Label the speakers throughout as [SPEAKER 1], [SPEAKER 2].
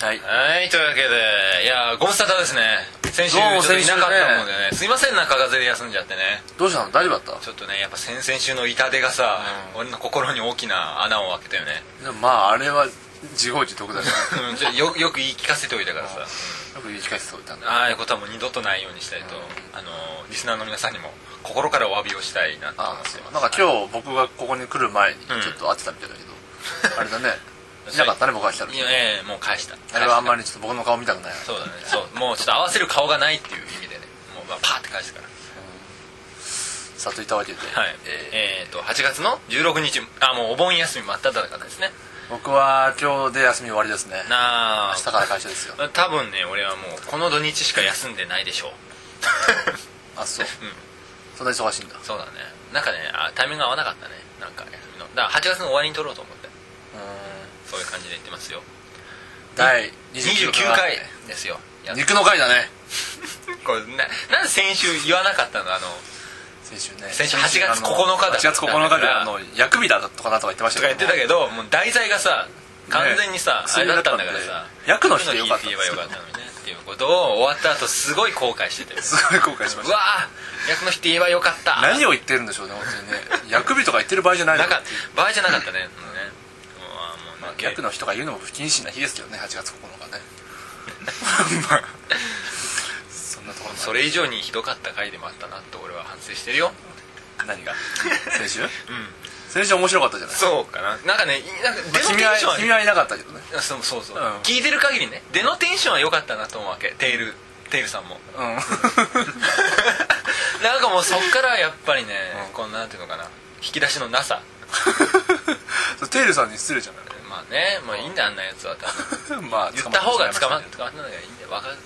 [SPEAKER 1] はい
[SPEAKER 2] はいというわけでいやーご無沙汰ですね先週ち
[SPEAKER 1] どう
[SPEAKER 2] ょ
[SPEAKER 1] も
[SPEAKER 2] っといな
[SPEAKER 1] 先
[SPEAKER 2] かった
[SPEAKER 1] 週ね
[SPEAKER 2] もんでねすいませんなんか風邪で休んじゃってね
[SPEAKER 1] どうしたの大丈夫だっ
[SPEAKER 2] ちょっとねやっぱ先々週の痛手がさ、
[SPEAKER 1] う
[SPEAKER 2] 俺の心に大きな穴を開けたよね
[SPEAKER 1] たでもまああれは自業自得だから
[SPEAKER 2] うんちょよよく言い聞かせておいたから さ、
[SPEAKER 1] よく言い聞かせておいたんだ
[SPEAKER 2] ああいうことはもう二度とないようにしたいと、あのーリスナーの皆さんにも心からお詫びをしたいなと思
[SPEAKER 1] あ
[SPEAKER 2] っ
[SPEAKER 1] あ
[SPEAKER 2] て
[SPEAKER 1] そう
[SPEAKER 2] ます
[SPEAKER 1] なんか今日僕がここに来る前にちょ
[SPEAKER 2] ん
[SPEAKER 1] っと会ってたみたいだけど、 あれだねいなかったね僕が来た
[SPEAKER 2] い
[SPEAKER 1] 時
[SPEAKER 2] やええもう返した
[SPEAKER 1] あれはあんま
[SPEAKER 2] り
[SPEAKER 1] りちょっと僕の顔見たくない
[SPEAKER 2] そうだねそうもうちょっと合わせる顔がないっていう意味でねもうまあパーって返したから
[SPEAKER 1] さっといたわけで、
[SPEAKER 2] はい
[SPEAKER 1] え
[SPEAKER 2] えー、と8月の16日あもうお盆休み真っ只中ですね
[SPEAKER 1] ー僕は今日で休み終わりですね
[SPEAKER 2] なあ
[SPEAKER 1] 明日から会社ですよ
[SPEAKER 2] 多分ね俺はもうこの土日しか休んでないでしょう
[SPEAKER 1] あそう、
[SPEAKER 2] ん
[SPEAKER 1] そんな忙しいんだ
[SPEAKER 2] そうだねなんかねあタイミング合わなかったねなんか休みのだから8月の終わりに撮ろうと思ってそういう感じで言ってますよ
[SPEAKER 1] 第
[SPEAKER 2] 29
[SPEAKER 1] 29
[SPEAKER 2] 回ですよいや
[SPEAKER 1] 肉の回だね
[SPEAKER 2] これななんで先週言わなかったのあの
[SPEAKER 1] 先週ね
[SPEAKER 2] 先週8月9日だ
[SPEAKER 1] 8月9日であの薬味だとかなとか言ってまし
[SPEAKER 2] と
[SPEAKER 1] た
[SPEAKER 2] か
[SPEAKER 1] け
[SPEAKER 2] 言っ
[SPEAKER 1] ど
[SPEAKER 2] てたけどもう題材がさ完全にさ、あ
[SPEAKER 1] 薬
[SPEAKER 2] れだったんだ
[SPEAKER 1] だ
[SPEAKER 2] か
[SPEAKER 1] ったん
[SPEAKER 2] ら
[SPEAKER 1] で
[SPEAKER 2] さ
[SPEAKER 1] 薬の日でよかったんで
[SPEAKER 2] 薬の日
[SPEAKER 1] す
[SPEAKER 2] って
[SPEAKER 1] けど
[SPEAKER 2] 言えばよかったのにねっていうことを終わった後すごい後悔してて
[SPEAKER 1] すごい後悔しま
[SPEAKER 2] う
[SPEAKER 1] し
[SPEAKER 2] わー薬の日って言えばよかった
[SPEAKER 1] た何を言ってるんでしょうね本当にね薬味とか言ってる場合じゃない
[SPEAKER 2] な
[SPEAKER 1] の
[SPEAKER 2] か場合じゃなかったねもうねもうあーもうね
[SPEAKER 1] まあ逆の人が言うのも不謹慎な日ですけどね8月9日ね まあそんなところ
[SPEAKER 2] それ以上にひどかった回でもあったなって俺は反省してるよ
[SPEAKER 1] 何が先週先週面白かったじゃない
[SPEAKER 2] そうかななんかねいなんか出のテン
[SPEAKER 1] 君は
[SPEAKER 2] ションは
[SPEAKER 1] 君はいなかったけどね
[SPEAKER 2] あそうそうそう、
[SPEAKER 1] うん
[SPEAKER 2] 聞いてる限りね出のテンションは良かったなと思うわけテールテールさんも
[SPEAKER 1] うん
[SPEAKER 2] なんかもうそっからやっぱりね、こんななんていうのかな引き出しのなさ
[SPEAKER 1] それテールさんに失礼じゃない
[SPEAKER 2] まあねもういいんだあんなやつは多分
[SPEAKER 1] まあ
[SPEAKER 2] 言った方が捕ま
[SPEAKER 1] っ
[SPEAKER 2] 捕まんないがいいんだよ分かる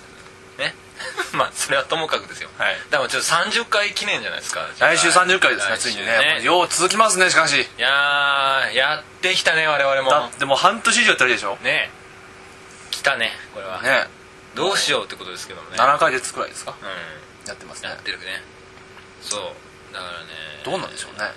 [SPEAKER 2] ね まあそれはともかくですよ
[SPEAKER 1] はい
[SPEAKER 2] でもちょっと30回記念じゃないですか
[SPEAKER 1] 来週30回ですね
[SPEAKER 2] 来
[SPEAKER 1] つ
[SPEAKER 2] 週
[SPEAKER 1] いにねよう続きますねしかし
[SPEAKER 2] いやーやってきたね我々
[SPEAKER 1] だ
[SPEAKER 2] も
[SPEAKER 1] ってもう半年以上やってるでしょ
[SPEAKER 2] ね来たねこれは
[SPEAKER 1] ね
[SPEAKER 2] どうしようってことですけどもね
[SPEAKER 1] 7ヶ月くらいですか
[SPEAKER 2] う
[SPEAKER 1] やってます
[SPEAKER 2] ん
[SPEAKER 1] ね
[SPEAKER 2] やってるねそうだからね
[SPEAKER 1] どうなんでしょうね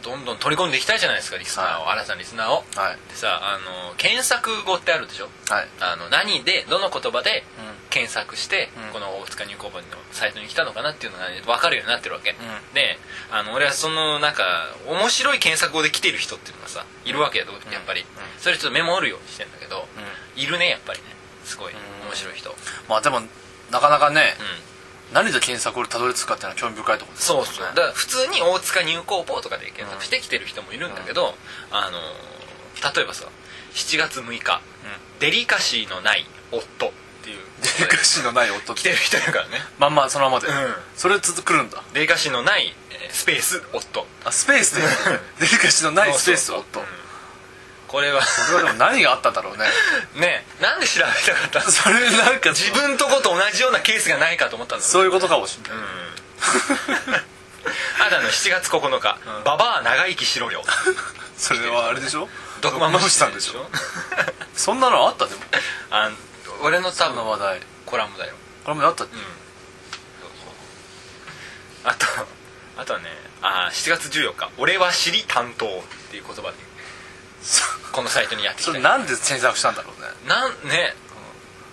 [SPEAKER 2] どんどん取り込んでいきたいじゃないですかリスナーを、新たなリスナーを
[SPEAKER 1] はい
[SPEAKER 2] でさあの検索語ってあるでしょ
[SPEAKER 1] はい
[SPEAKER 2] あの何でどの言葉で
[SPEAKER 1] うん
[SPEAKER 2] 検索して、
[SPEAKER 1] うん
[SPEAKER 2] この大塚入工本のサイトに来たのかなっていうのが、ね、分かるようになってるわけ、
[SPEAKER 1] ん
[SPEAKER 2] であの俺はそのなんか面白い検索語で来てる人っていうのがさいるわけややっぱり、それちょっとメモるようにしてんだけど、いるねやっぱりねすごい
[SPEAKER 1] ん
[SPEAKER 2] 面白い人うん
[SPEAKER 1] まあでもなかなかね何で検索をたどり着くかっていうのは興味深いところです
[SPEAKER 2] そうそうだから普通に大塚入工法とかで検索してきてる人もいるんだけど、あのー例えばさ7月6日、デリカシーのない夫っていう
[SPEAKER 1] デリカ シーのない夫っ
[SPEAKER 2] 来て
[SPEAKER 1] て
[SPEAKER 2] る人いるからね
[SPEAKER 1] まんまそのままで、
[SPEAKER 2] うん
[SPEAKER 1] それ続くるんだ
[SPEAKER 2] デリカシーのない、えースペース夫
[SPEAKER 1] あスペースでデリカシーのないスペース
[SPEAKER 2] そう
[SPEAKER 1] 夫
[SPEAKER 2] そうそうこれは
[SPEAKER 1] それはでも何があったんだろうね
[SPEAKER 2] ねなんで調べたかっ た
[SPEAKER 1] それなんか
[SPEAKER 2] 自分とこと同じようなケースがないかと思ったんだ
[SPEAKER 1] そういうことかもしれない、
[SPEAKER 2] あだの7月9日「ババア長生きしろよ
[SPEAKER 1] それはあれでしょ」
[SPEAKER 2] 毒ま
[SPEAKER 1] マ
[SPEAKER 2] ま
[SPEAKER 1] ム
[SPEAKER 2] し
[SPEAKER 1] シさ
[SPEAKER 2] た
[SPEAKER 1] ん
[SPEAKER 2] んで
[SPEAKER 1] で
[SPEAKER 2] し
[SPEAKER 1] しょ
[SPEAKER 2] ょ
[SPEAKER 1] そんなのあったでも
[SPEAKER 2] あの俺の多
[SPEAKER 1] そんな
[SPEAKER 2] 分
[SPEAKER 1] 話題こ
[SPEAKER 2] コラムだよ
[SPEAKER 1] れもあったって、
[SPEAKER 2] あとあとはねあー7月14日「俺は尻担当」っていう言葉で
[SPEAKER 1] そ
[SPEAKER 2] このサイトにやってき
[SPEAKER 1] そ
[SPEAKER 2] た
[SPEAKER 1] れ
[SPEAKER 2] よ
[SPEAKER 1] なんで検索したんだろうね
[SPEAKER 2] なんね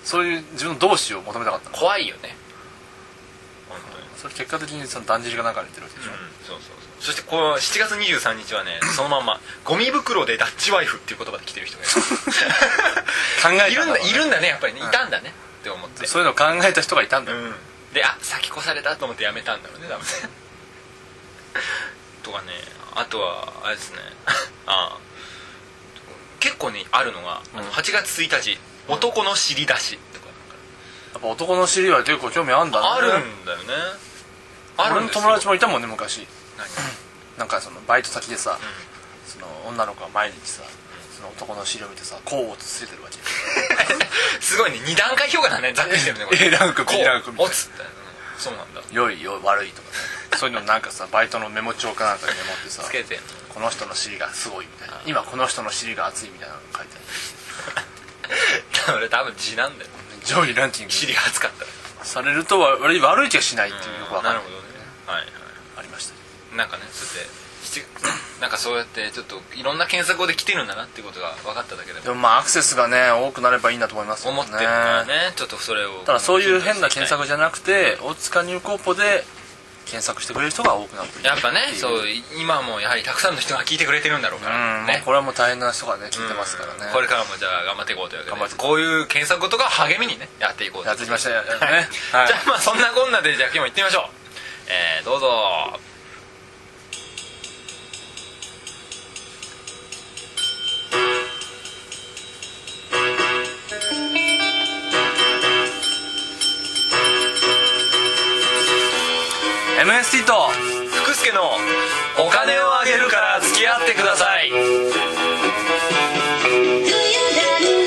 [SPEAKER 1] そういう自分の同志を求めたかったの
[SPEAKER 2] 怖いよね本当に
[SPEAKER 1] それ結果的にそのだんじりがなんかに似てるわけでしょ、
[SPEAKER 2] そうそうそうそしてこの7月23日 はねそのまんま「ゴミ袋でダッチワイフ」っていう言葉で来てる人がい
[SPEAKER 1] 考
[SPEAKER 2] る
[SPEAKER 1] え
[SPEAKER 2] い
[SPEAKER 1] た
[SPEAKER 2] る
[SPEAKER 1] ん
[SPEAKER 2] ん
[SPEAKER 1] だ
[SPEAKER 2] だ
[SPEAKER 1] ろうね
[SPEAKER 2] いるんだねやっぱりねいたんだねって思って
[SPEAKER 1] そういうのを考えた人がいたんだよ、
[SPEAKER 2] うんであ先越されたと思ってやめたんだろうね多分 ねとかねあとはあれですね あ結構ねあるのが、あの8月1日「男の尻出し」とか
[SPEAKER 1] やっぱ男の尻は結構興味あんだね
[SPEAKER 2] あるんだよねあるんです
[SPEAKER 1] 俺の
[SPEAKER 2] よ
[SPEAKER 1] 友達もいたもんね昔
[SPEAKER 2] 何
[SPEAKER 1] なんかそのバイト先でさ、その女の子が毎日さその男の資料見てさこうをつついてるわけ
[SPEAKER 2] すごいね二段階評価だねざっくりしてるねこ れ
[SPEAKER 1] A ランク
[SPEAKER 2] こう
[SPEAKER 1] B ランクみたい
[SPEAKER 2] おつってそうなんだ
[SPEAKER 1] 良い良い悪いとかねそういうのなんかさバイトのメモ帳かなんかにメモってさ
[SPEAKER 2] つけてんの
[SPEAKER 1] この人の尻がすごいみたいな今この人の尻が熱いみたいなの書いて
[SPEAKER 2] 俺多分地なんだよ
[SPEAKER 1] ある上位ランキング
[SPEAKER 2] 尻が熱かった
[SPEAKER 1] されるとは悪い悪い気がしないっていうよくわか
[SPEAKER 2] な
[SPEAKER 1] る
[SPEAKER 2] るほどねはいは
[SPEAKER 1] ありました
[SPEAKER 2] いなんかねそれで7 なんかそうやってちょっといろんな検索語で来てるんだなっていうことが分かっただけで
[SPEAKER 1] で
[SPEAKER 2] も
[SPEAKER 1] もまあアクセスがね多くなればいいなと思いますよ
[SPEAKER 2] 思ってるからねちょっとそれを
[SPEAKER 1] ただそういう変な検索じゃなくて大塚入高ポで検索してくれる人が多くなっている
[SPEAKER 2] やっぱね
[SPEAKER 1] ていう
[SPEAKER 2] そう今もやはりたくさんの人が聞いてくれてるんだろう
[SPEAKER 1] う
[SPEAKER 2] か
[SPEAKER 1] ん
[SPEAKER 2] ら、
[SPEAKER 1] まあ
[SPEAKER 2] ね
[SPEAKER 1] これはもう大変な人がね聞いてますから
[SPEAKER 2] う
[SPEAKER 1] ね
[SPEAKER 2] んこれからもじゃあ頑張っていこうというわけで
[SPEAKER 1] 頑張って
[SPEAKER 2] こういう検索とか励みにねやっていこうと
[SPEAKER 1] やっていきましょうやっていきましょう
[SPEAKER 2] はい
[SPEAKER 1] ねはい
[SPEAKER 2] じゃあまあそんなこんなでじゃあ今日も行ってみましょうえーどうぞ
[SPEAKER 1] うん MST と
[SPEAKER 2] 福助のお金をあげるから付き合ってください
[SPEAKER 3] Do you dun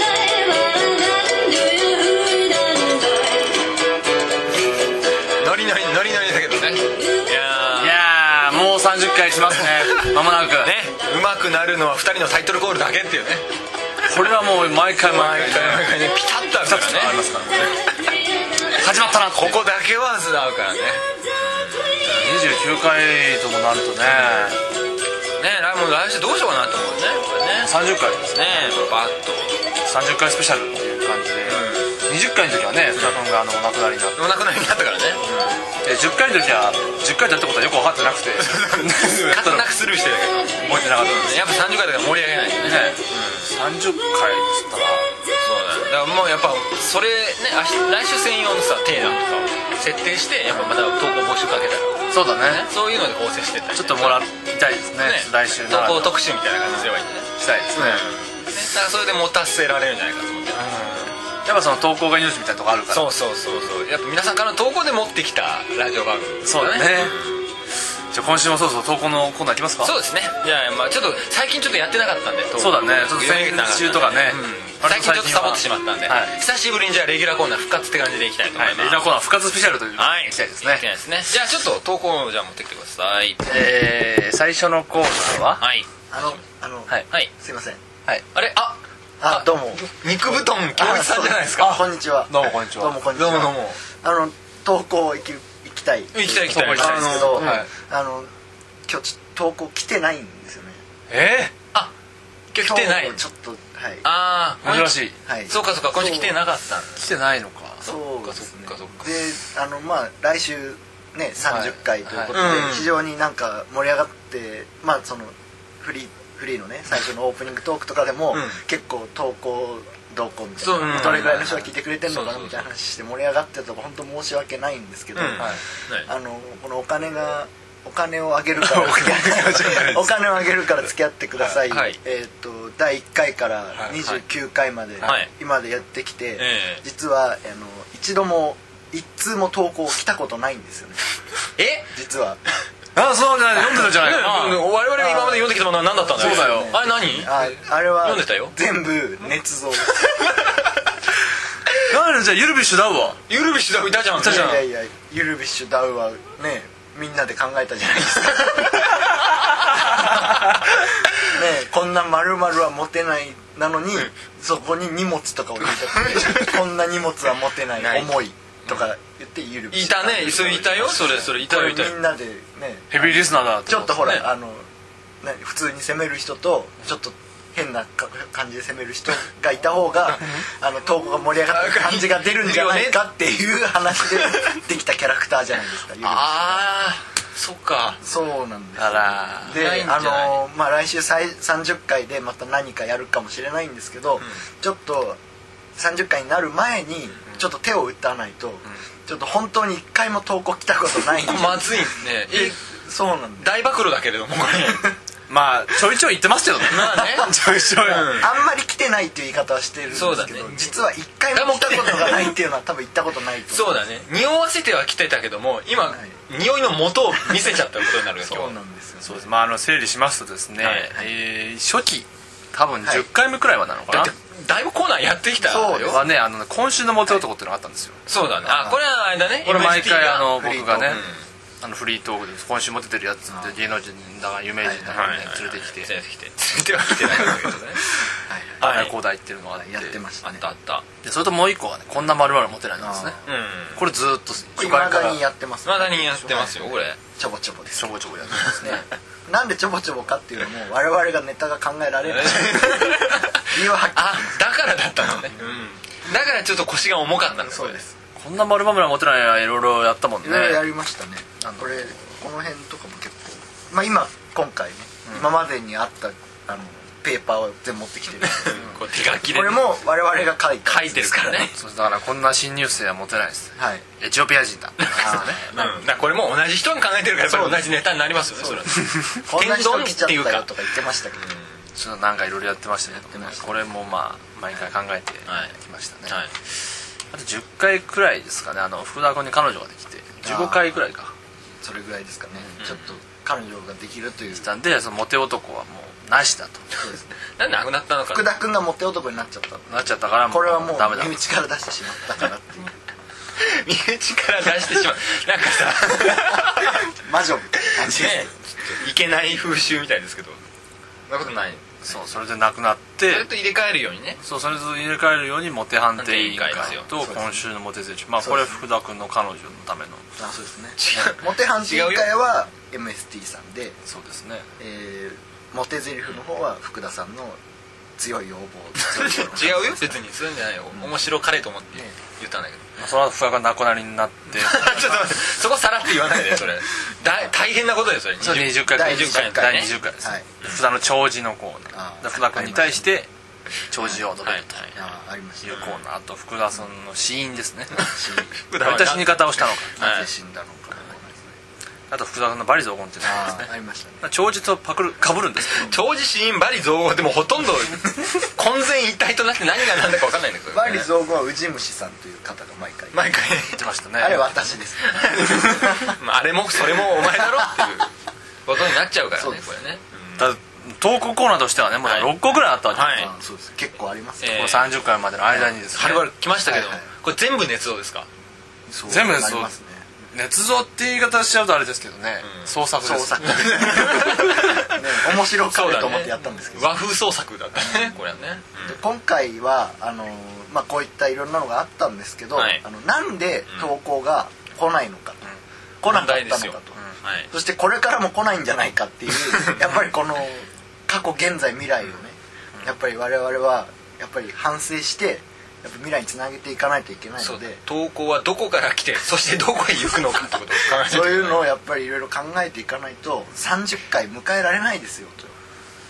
[SPEAKER 3] dun dun dun? Do you dun dun?
[SPEAKER 2] ノリノリノリノリだけどねいやー
[SPEAKER 1] いやーもう30回します ねまもなく
[SPEAKER 2] ねうまくなるのは2人のタイトルコールだけっていうね
[SPEAKER 1] これはもう毎回毎回ね
[SPEAKER 2] 回ねピタッと合う
[SPEAKER 1] ちょ
[SPEAKER 2] か
[SPEAKER 1] っと
[SPEAKER 2] らね
[SPEAKER 1] ありますからね始まったなこ
[SPEAKER 2] ここだけはず合うからねね
[SPEAKER 1] 29回ともなるとね
[SPEAKER 2] 来もう来週どうしようかなと思うねこれね
[SPEAKER 1] 30回ですね
[SPEAKER 2] ねバッと
[SPEAKER 1] 30回スペシャルっていう感じで、20回の時はね福田君があのお亡くなりになって
[SPEAKER 2] お亡くなりになったからね
[SPEAKER 1] で10回の時は10回だったことはよく分かってなくて
[SPEAKER 2] 勝手なくスルーしてるけど
[SPEAKER 1] 覚えてなかったんです
[SPEAKER 2] やっぱ30回だから盛り上げないとね
[SPEAKER 1] ね、30回っつったら
[SPEAKER 2] そうだねだからもうやっぱそれねあし来週専用のさテーマとかを設定してやっぱまた投稿募集かけたら
[SPEAKER 1] そうだね
[SPEAKER 2] そういうので構成してったりね
[SPEAKER 1] ちょっともらいたいですね来週
[SPEAKER 2] 投
[SPEAKER 1] なら
[SPEAKER 2] 稿特集みたいな感じにすればいいんだね
[SPEAKER 1] したいですね、
[SPEAKER 2] ねだからそれで持たせられるんじゃないかと思って
[SPEAKER 1] やっぱその投稿が命みたいなとこあるから
[SPEAKER 2] そうそうそうそうやっぱ皆さんからの投稿で持ってきたラジオ番組
[SPEAKER 1] そうだねじゃあ今週もそうそう投稿のコーナーいきますか
[SPEAKER 2] そうですねいやいやまあちょっと最近ちょっとやってなかったんで投稿
[SPEAKER 1] そうだねちょっと先週とかね
[SPEAKER 2] うん最近ちょっとサボってしまったんで、
[SPEAKER 1] はい
[SPEAKER 2] 久しぶりにじゃあレギュラーコーナー復活って感じでいきたいと思
[SPEAKER 1] はいい、レギュ
[SPEAKER 2] ます
[SPEAKER 1] ラーコーナー復活スペシャルというのを
[SPEAKER 2] はい
[SPEAKER 1] いきたいですね、
[SPEAKER 2] いきたいですねじゃあちょっと投稿をじゃあ持ってきてください
[SPEAKER 1] えー、最初のコーナーは
[SPEAKER 2] はい
[SPEAKER 4] あの、あの、
[SPEAKER 1] はい
[SPEAKER 2] はい
[SPEAKER 4] すいません。
[SPEAKER 1] はい
[SPEAKER 2] あれあ
[SPEAKER 4] あ、どうも。
[SPEAKER 2] 肉布団教一さんじゃないです
[SPEAKER 4] あ
[SPEAKER 2] か
[SPEAKER 4] こんにちは。
[SPEAKER 1] どうもこんにちは
[SPEAKER 4] どうもこんにち
[SPEAKER 2] どう
[SPEAKER 4] は。
[SPEAKER 2] もどうも
[SPEAKER 4] あの、投稿行き、行きたい。
[SPEAKER 2] 行きたい行きたい
[SPEAKER 1] 投稿行きたい
[SPEAKER 4] で
[SPEAKER 1] ですす
[SPEAKER 4] けど、
[SPEAKER 1] あのはい
[SPEAKER 4] あの、今日ちょ投稿来てないんですよね。
[SPEAKER 1] え
[SPEAKER 2] あ今日来てない
[SPEAKER 4] 今日ちょっと、はい。
[SPEAKER 2] ああ
[SPEAKER 1] ー、珍しい
[SPEAKER 4] はい。
[SPEAKER 2] そうかそうか今週来てなかったんだ
[SPEAKER 1] 来てないのか
[SPEAKER 4] そうですね
[SPEAKER 2] そっかそっか
[SPEAKER 4] であのまあ来週ね30回ということで、
[SPEAKER 2] はいはい
[SPEAKER 4] 非常になんか盛り上がってまあそのフリーフリーのね最初のオープニングトークとかでも、
[SPEAKER 2] うん
[SPEAKER 4] 結構投稿動向みた
[SPEAKER 2] そう
[SPEAKER 4] いうな、
[SPEAKER 2] ん
[SPEAKER 4] どれぐらいの人が聞いてくれてるのか
[SPEAKER 2] そうそう
[SPEAKER 4] な
[SPEAKER 2] そう
[SPEAKER 4] みたいな話して盛り上がってたとか本当申し訳ないんですけど、
[SPEAKER 2] うん
[SPEAKER 1] はい
[SPEAKER 4] あのこのお金がお金をあげる から付き合ってお金をあげるから付き合ってください、
[SPEAKER 2] はい
[SPEAKER 4] えっ、と第1回から29回まで、
[SPEAKER 2] はい
[SPEAKER 4] 今までやってきて、
[SPEAKER 2] ええ
[SPEAKER 4] 実はあの一度も一通も投稿来たことないんですよね
[SPEAKER 2] え
[SPEAKER 4] 実は
[SPEAKER 1] あそうじゃない読んでたんじゃないか
[SPEAKER 2] 我
[SPEAKER 1] な
[SPEAKER 2] 々が今まで読んできたものは何だったんだよ
[SPEAKER 1] そうだよ
[SPEAKER 2] あれ何
[SPEAKER 4] ああれは
[SPEAKER 2] 読んでたよ
[SPEAKER 4] 全部捏造
[SPEAKER 1] なんでじゃあゆるびしゅだわ
[SPEAKER 2] ゆるびしだいたじゃん
[SPEAKER 1] たじゃん
[SPEAKER 4] いやいやいやゆるびっしゅダウはねみんなで考えたじゃな いですかねこんな丸々は持てないなのに、そこに荷物とかを入れちゃって こんな荷物は持てない
[SPEAKER 2] ない
[SPEAKER 4] 重いとか言ってゆるび
[SPEAKER 2] い
[SPEAKER 4] した
[SPEAKER 2] ねそれいたよそれそれいた
[SPEAKER 4] こ
[SPEAKER 2] よ
[SPEAKER 4] れ
[SPEAKER 2] いたよ
[SPEAKER 4] みんなでね
[SPEAKER 1] ヘビーリスナーだて
[SPEAKER 4] ちょっとほら、
[SPEAKER 2] ね
[SPEAKER 4] あのね普通に攻める人とちょっと変なか感じで攻める人がいた 方があの投稿が盛り上がった感じが出るんじゃないかっていう話で できたキャラクターじゃないですかゆるび
[SPEAKER 2] ああそっか
[SPEAKER 4] そうなんですよ
[SPEAKER 1] あら
[SPEAKER 4] で
[SPEAKER 2] ないんじゃ
[SPEAKER 4] あ
[SPEAKER 2] ない
[SPEAKER 4] のまあ来週さい30回でまた何かやるかもしれないんですけど、ちょっと30回になる前にちょっと手を打たないと、ちょっと本当に一回も投稿来たことないんで
[SPEAKER 2] まずいねえ
[SPEAKER 4] そうなんです
[SPEAKER 2] 大暴露だけれどもこれ
[SPEAKER 1] まあちょいちょい言ってますけどね
[SPEAKER 2] まあね
[SPEAKER 1] ちょいちょい、
[SPEAKER 2] うん
[SPEAKER 4] あんまり来てないっていう言い方はしてるんです
[SPEAKER 2] そうだ
[SPEAKER 4] け
[SPEAKER 2] ね
[SPEAKER 4] ど、実は一回も来たことがないっていうのは多分行ったことないと思
[SPEAKER 2] そうだね匂わせては来てたけども今
[SPEAKER 4] はい
[SPEAKER 2] 匂いの元を見せちゃったことになるよ今
[SPEAKER 4] そう
[SPEAKER 2] 日
[SPEAKER 4] なんですよ、ね、
[SPEAKER 1] そうですまああの整理しますとですね、
[SPEAKER 2] はい
[SPEAKER 1] えー初期多分
[SPEAKER 4] はい
[SPEAKER 1] 10回目くらいはなのかな、
[SPEAKER 2] だってだいぶコーナーやってきた
[SPEAKER 4] そう
[SPEAKER 2] よ
[SPEAKER 1] はねあのね今週のモテ男っていうのがあったんですよ、
[SPEAKER 2] そうだねあこれはあれだね
[SPEAKER 1] これ毎
[SPEAKER 2] MST
[SPEAKER 1] 回
[SPEAKER 2] が
[SPEAKER 1] あの
[SPEAKER 4] フリー
[SPEAKER 1] 僕がね
[SPEAKER 4] トーク
[SPEAKER 1] あのフリートークで今週も出てるやつって芸能人だが有名人だがね連れてきて
[SPEAKER 2] 連れてきて連れては来てないんだけどね
[SPEAKER 1] ああだこうだいっていうのがあっ
[SPEAKER 4] はい
[SPEAKER 1] て
[SPEAKER 4] やってました
[SPEAKER 2] あっ
[SPEAKER 4] ね
[SPEAKER 2] たあった
[SPEAKER 1] でそれともう一個はねこんなまるまる持てないんですね
[SPEAKER 2] うん
[SPEAKER 1] これずーっと
[SPEAKER 4] こ
[SPEAKER 1] 初
[SPEAKER 4] れ未
[SPEAKER 1] 回か
[SPEAKER 4] だ
[SPEAKER 1] ら
[SPEAKER 4] にやってます
[SPEAKER 2] まだにやってますよ
[SPEAKER 4] はい
[SPEAKER 2] これ
[SPEAKER 4] ちょぼちょぼです
[SPEAKER 1] ちょぼちょぼやってます
[SPEAKER 4] ね なんでちょぼちょぼかっていうのも我々がネタが考 えられない理由ははっきり
[SPEAKER 2] あだからだったのねうんだからちょっと腰が重かったん
[SPEAKER 4] そうです
[SPEAKER 1] こんなまるまる持てないやいろいろやったもんね
[SPEAKER 4] いろいろやりましたねこれこの辺とかも結構まあ今今回ね、今までにあったあのペーパーを全部持ってきて るんですけど
[SPEAKER 2] これ手書きで
[SPEAKER 4] これも我々が書いた
[SPEAKER 2] 書
[SPEAKER 4] や
[SPEAKER 2] い
[SPEAKER 4] つ
[SPEAKER 2] て
[SPEAKER 4] で
[SPEAKER 2] る
[SPEAKER 4] す
[SPEAKER 2] からね
[SPEAKER 1] そうだからこんな新入生は持てないです
[SPEAKER 4] はい
[SPEAKER 1] エチオピア人だ
[SPEAKER 4] あ
[SPEAKER 2] うん、だからこれも同じ人が考えてるからやっぱり同じネタになりますよねそれは
[SPEAKER 4] ーこんな人来ちゃったよとか言ってましたけど、
[SPEAKER 1] ちょっとなんかいろいろやってましたけど、
[SPEAKER 4] やって
[SPEAKER 1] ね
[SPEAKER 4] まし、た
[SPEAKER 1] これもまあ毎回考えて
[SPEAKER 2] はい
[SPEAKER 1] きましたね、
[SPEAKER 2] はい
[SPEAKER 1] あと10回くらいですかねあの福田君に彼女ができて15回くらいか
[SPEAKER 4] それぐらいですかね、ちょっと彼女ができるという
[SPEAKER 1] したんでそのモテ男はもうなしだと
[SPEAKER 4] そうですね
[SPEAKER 2] なんでなくなったのか
[SPEAKER 4] 福田君がモテ男になっちゃったの
[SPEAKER 1] なっちゃったからもう
[SPEAKER 4] これはも
[SPEAKER 1] ダメだ
[SPEAKER 4] う身内から出してしまったからっていう
[SPEAKER 2] 身内から出してしまう なんかさ
[SPEAKER 4] 魔女みたいな感じで
[SPEAKER 2] ねいけない風習みたいですけどそんなことない
[SPEAKER 1] そうそれでなくなっ
[SPEAKER 2] それ
[SPEAKER 1] て
[SPEAKER 2] と入れ替えるようにね
[SPEAKER 1] そうそれぞれ入れ替えるようにモテ判定委員会と
[SPEAKER 2] そう
[SPEAKER 4] ですね
[SPEAKER 1] 今週のモテ選手まあこれ福田君の彼女のための
[SPEAKER 4] すあそうですねモテ判定委員会は MST さんで、
[SPEAKER 1] そうですね
[SPEAKER 4] えー、モテゼリフの方は福田さんの強い要
[SPEAKER 2] 違
[SPEAKER 4] 望
[SPEAKER 2] うよ別にそういうんじゃないよ面白かれと思って言ったんだけど
[SPEAKER 1] まあその後福田がなくなりになって
[SPEAKER 2] ちょっと待ってそこさらって言わないでそれだ大変なことですよ
[SPEAKER 1] それ20回
[SPEAKER 4] 第
[SPEAKER 1] 第
[SPEAKER 4] 20
[SPEAKER 1] 20
[SPEAKER 4] 回
[SPEAKER 1] 回,、
[SPEAKER 4] ね
[SPEAKER 1] です、
[SPEAKER 4] はい
[SPEAKER 1] 福田の長寿のコーナ
[SPEAKER 4] あ
[SPEAKER 1] ー
[SPEAKER 4] ー
[SPEAKER 1] で福田君に対して長寿を述べ ると
[SPEAKER 2] はい
[SPEAKER 1] い
[SPEAKER 4] ああありました
[SPEAKER 1] うコーナーと福田さんの死因ですね
[SPEAKER 4] し
[SPEAKER 2] 福
[SPEAKER 1] ど
[SPEAKER 2] 田
[SPEAKER 1] うい
[SPEAKER 2] は
[SPEAKER 1] った死に方をしたのか
[SPEAKER 4] なぜ死んだのか
[SPEAKER 1] あと福田さんのバリ雑言っていうのがあります
[SPEAKER 4] あ
[SPEAKER 1] ね
[SPEAKER 4] あありましたね
[SPEAKER 1] まあ長寿とパクるかぶるんですけど
[SPEAKER 2] 長寿死因バリ増でもほとんど 混然一体となって何が何だか分かんないんだけど
[SPEAKER 4] バリ雑言はウジ虫さんという方が毎回
[SPEAKER 2] 毎回
[SPEAKER 1] 言ってましたね
[SPEAKER 4] あれ私です
[SPEAKER 2] まああれもそれもお前だろっていうことになっちゃうから
[SPEAKER 4] そう
[SPEAKER 2] ね
[SPEAKER 4] です
[SPEAKER 2] これね
[SPEAKER 1] だ投稿コーナーとしてはねもう
[SPEAKER 2] はい
[SPEAKER 1] 6個ぐらいあったわけです、
[SPEAKER 2] はい
[SPEAKER 4] あそうです結構あります
[SPEAKER 2] え
[SPEAKER 1] こ
[SPEAKER 2] ー
[SPEAKER 1] の30回までの間にです
[SPEAKER 2] は
[SPEAKER 1] ね
[SPEAKER 2] るばる来ましたけど
[SPEAKER 4] はいはい
[SPEAKER 2] これ全部捏造ですか
[SPEAKER 4] そう
[SPEAKER 1] 全部
[SPEAKER 4] なりますね
[SPEAKER 1] 捏造って言い方しちゃうとあれですけどね、
[SPEAKER 2] うん
[SPEAKER 1] 創作で
[SPEAKER 4] 創
[SPEAKER 1] す
[SPEAKER 4] 作ね 面白かれと思ってやったんですけど
[SPEAKER 2] 和風創作だったねこれはね
[SPEAKER 4] で今回はあのーまあ、こういったいろんなのがあったんですけど、
[SPEAKER 2] はい
[SPEAKER 4] あのなんで投稿が来ないのかと、来なかったのかと、
[SPEAKER 2] うんはい
[SPEAKER 4] そしてこれからも来ないんじゃないかっ ていうやっぱりこの過去現在未来をねやっぱり我々はやっぱり反省してやっぱ未来につなげていかないといけない
[SPEAKER 2] そ
[SPEAKER 4] の
[SPEAKER 2] う
[SPEAKER 4] で
[SPEAKER 2] 投稿はどこから来て そしてどこへ行くのかってことを考えて
[SPEAKER 4] そういうのをやっぱりいろいろ考えていかないと30回迎えられないですよと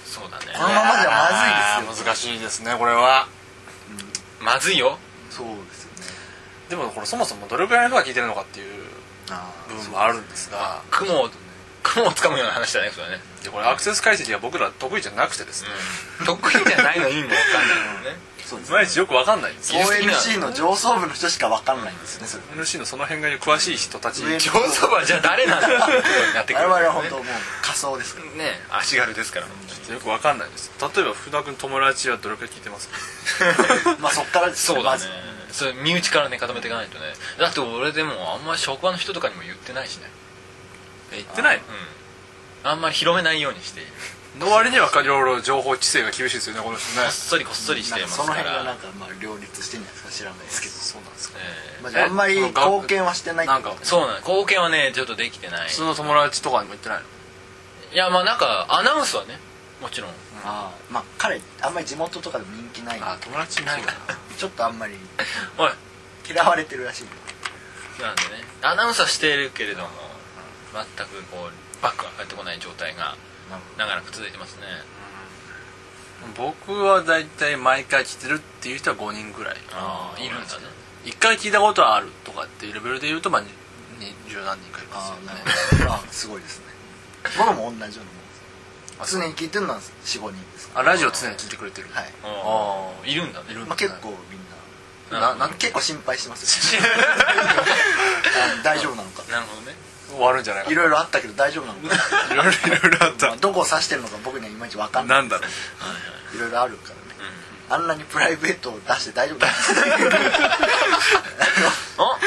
[SPEAKER 2] そうだね
[SPEAKER 4] このままじゃまずいです
[SPEAKER 1] あー
[SPEAKER 4] よ
[SPEAKER 1] 難しいですねこれは
[SPEAKER 2] まずいよ
[SPEAKER 4] そうですよね
[SPEAKER 1] でもこれそもそもどれくらいの人が聞いてるのかっていう
[SPEAKER 4] あ
[SPEAKER 1] 部分もあるんですが
[SPEAKER 2] 雲を雲をつかむような話だねそ れね
[SPEAKER 1] でこれアクセス解析が僕ら得意じゃなくてですね、
[SPEAKER 2] 得意じゃないの意味も分かんないもんね
[SPEAKER 4] そうです
[SPEAKER 1] いまいちよくわかんないんですよ
[SPEAKER 2] 技術的な
[SPEAKER 4] ONC の上層部の人しか分かんないんですねそれ
[SPEAKER 1] NC のその辺が詳しい人たち
[SPEAKER 4] 上
[SPEAKER 2] 上層部はじゃあ誰なんだってことになってく
[SPEAKER 4] 我
[SPEAKER 2] る
[SPEAKER 4] 々は
[SPEAKER 2] よ
[SPEAKER 4] 本当
[SPEAKER 2] ね
[SPEAKER 4] もう仮想ですから
[SPEAKER 2] ね足軽ですから
[SPEAKER 1] よくわかんないです例えば福田君友達はどれくらい聞いてますか
[SPEAKER 4] まあそっからです
[SPEAKER 2] そうだね
[SPEAKER 4] まず
[SPEAKER 2] それ身内からね固めていかないとねだって俺でもあんまり職場の人とかにも言ってないしね
[SPEAKER 1] 言ってない
[SPEAKER 2] うんあんまり広めないようにしている
[SPEAKER 1] の割にはいろいろ情報規制が厳しいですよねこの人ね
[SPEAKER 2] こっそりこっそりして
[SPEAKER 4] なん
[SPEAKER 2] ま
[SPEAKER 4] か
[SPEAKER 2] す
[SPEAKER 4] その
[SPEAKER 2] か
[SPEAKER 4] 辺が
[SPEAKER 2] ら
[SPEAKER 4] なんかまあ両立してんじゃないですか知らないですけど
[SPEAKER 1] そうなんですか
[SPEAKER 2] え
[SPEAKER 4] まあ、あんまり
[SPEAKER 1] えその学
[SPEAKER 4] 貢献はしてない
[SPEAKER 1] なんか
[SPEAKER 2] えそうなの貢献はねちょっとできてない
[SPEAKER 1] 普通の友達とかにも言ってないの
[SPEAKER 2] いやまあなんかアナウンスはねもちろん
[SPEAKER 4] ああまあ彼あんまり地元とかでも人気ないんで
[SPEAKER 1] あ友達いないか
[SPEAKER 4] ちょっとあんまり
[SPEAKER 2] おい
[SPEAKER 4] 嫌われてるらしい
[SPEAKER 2] なんでねアナウンスはしてるけれども全くこうバックが返ってこない状態が
[SPEAKER 4] なる
[SPEAKER 2] 長らく続いてますね
[SPEAKER 1] 僕は大体毎回聞いてるっていう人は5人ぐらい
[SPEAKER 2] ああいるんだね
[SPEAKER 1] 1回聞いたことはあるとかっていうレベルで言うとまあにに十何人かいますよ
[SPEAKER 4] ああな
[SPEAKER 1] ね
[SPEAKER 4] るほどああすごいですね僕も同じようなもんです常に聞いてるのは45人です
[SPEAKER 1] あラジオ常に聞いてくれてる
[SPEAKER 4] はい、
[SPEAKER 2] ああいるんだねいる
[SPEAKER 4] まあ、結構みん
[SPEAKER 1] なな
[SPEAKER 4] な結構心配してま すよ あの大丈夫なのか
[SPEAKER 2] なるほどね
[SPEAKER 1] 終わるんじゃないか
[SPEAKER 4] い
[SPEAKER 1] な
[SPEAKER 4] ろいろあったけど大丈夫なのか、
[SPEAKER 1] いろいろいろいろあっ
[SPEAKER 4] まあ、どこを指してるのか僕にはいまいち分かんない
[SPEAKER 1] なんだろう
[SPEAKER 4] いろいろあるからね、あんなにプライベートを出して大丈夫だ
[SPEAKER 2] あ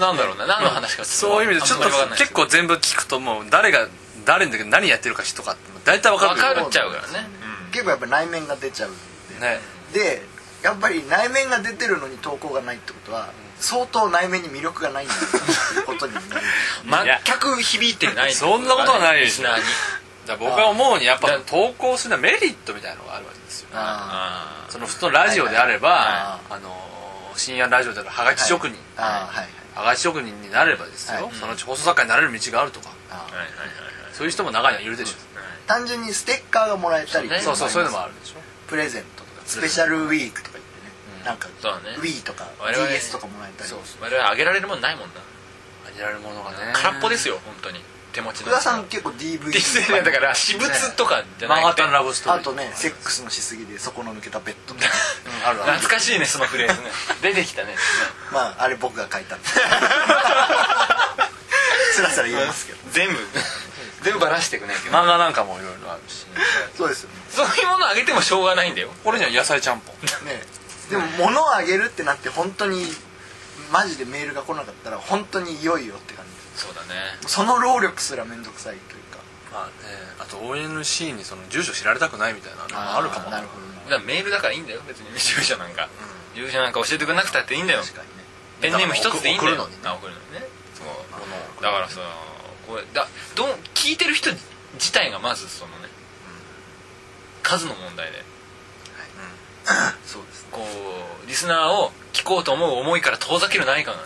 [SPEAKER 2] なんだろうな何の話か
[SPEAKER 1] そういう意味でちょっと結構全部聞くともう誰が誰の時何やってるかとかって大体わかる
[SPEAKER 2] 分か
[SPEAKER 1] け
[SPEAKER 2] る
[SPEAKER 1] ど
[SPEAKER 2] っちゃうからね
[SPEAKER 4] 結構やっぱ内面が出ちゃうんで
[SPEAKER 1] ね
[SPEAKER 4] でやっぱり内面が出てるのに投稿がないってことは相当内面に魅力がないんだなっていうことになる
[SPEAKER 1] いや
[SPEAKER 2] 全く響いてない
[SPEAKER 1] そんなことはないでしょ
[SPEAKER 2] リスナーに
[SPEAKER 1] だから僕は思うにやっぱ
[SPEAKER 2] だ
[SPEAKER 1] 投稿するメリットみたいなのがあるわけですよ
[SPEAKER 4] あ
[SPEAKER 2] あ
[SPEAKER 1] その普通のラジオであれば、
[SPEAKER 4] は
[SPEAKER 1] あの深夜ラジオであるはがき職人、
[SPEAKER 4] ああはいはい
[SPEAKER 1] はがき職人になればですよ、
[SPEAKER 4] はい
[SPEAKER 1] そのうち放送作家になれる道があるとか
[SPEAKER 4] あ
[SPEAKER 2] ー
[SPEAKER 4] あ
[SPEAKER 2] はいはいはい
[SPEAKER 1] そういう人も中にはいるでしょ、
[SPEAKER 2] はい
[SPEAKER 4] 単純にステッカーがもらえたり
[SPEAKER 2] うん
[SPEAKER 1] そうそうそういうのも
[SPEAKER 4] あ
[SPEAKER 1] あるでしょ
[SPEAKER 4] るプレゼントとかスペシャルウィークとか言ってね、なんか
[SPEAKER 2] そうだね
[SPEAKER 4] Wii とか
[SPEAKER 2] 我々
[SPEAKER 4] DS とかもらえたり
[SPEAKER 2] そうそう我々あげられるもんないもんな
[SPEAKER 1] あげられるものがね
[SPEAKER 2] 空っぽですよ本当に手持ちの
[SPEAKER 4] 福田さん結構 DVD
[SPEAKER 2] ディスネーだから私物とかじゃ
[SPEAKER 1] マンハ
[SPEAKER 2] な
[SPEAKER 1] ッ
[SPEAKER 2] くて
[SPEAKER 1] タンラブストー
[SPEAKER 4] あ
[SPEAKER 1] リー
[SPEAKER 4] とねセックスのしすぎで底の抜けたベッドとか
[SPEAKER 1] うんあるある
[SPEAKER 2] 懐かしいねそのフレーズね 出てきたね
[SPEAKER 4] まああれ僕が書いたんですすらすら言いますけど
[SPEAKER 2] 全部全部ばらしてくねけど
[SPEAKER 1] 漫画なんかもいろいろあるし
[SPEAKER 4] そうですよね
[SPEAKER 2] そういうものあげてもしょうがないんだよ
[SPEAKER 1] これには野菜ちゃんぽん
[SPEAKER 4] ねでも物をあげるってなって本当にマジでメールが来なかったら本当にいよいよって感じ
[SPEAKER 2] そうだね
[SPEAKER 4] その労力すら面倒くさいというか
[SPEAKER 1] まあねあと ONC にその住所知られたくないみたいなのもあるかも
[SPEAKER 4] なるほど
[SPEAKER 2] だ
[SPEAKER 4] な
[SPEAKER 2] からメールだからいいんだよ別に住所なんか住所なんか教えてくれなくたっていいんだよ
[SPEAKER 4] 確かにね
[SPEAKER 2] ペンネーム一つでいいんだよ
[SPEAKER 1] 送るのにね
[SPEAKER 2] あ送るのにねそう
[SPEAKER 1] 物を送る
[SPEAKER 2] だからさこれだどう聞いてる人自体がまずそのね、数の問題で
[SPEAKER 4] そう です
[SPEAKER 2] こうリスナーを聞こうと思う思いから遠ざける何 かがね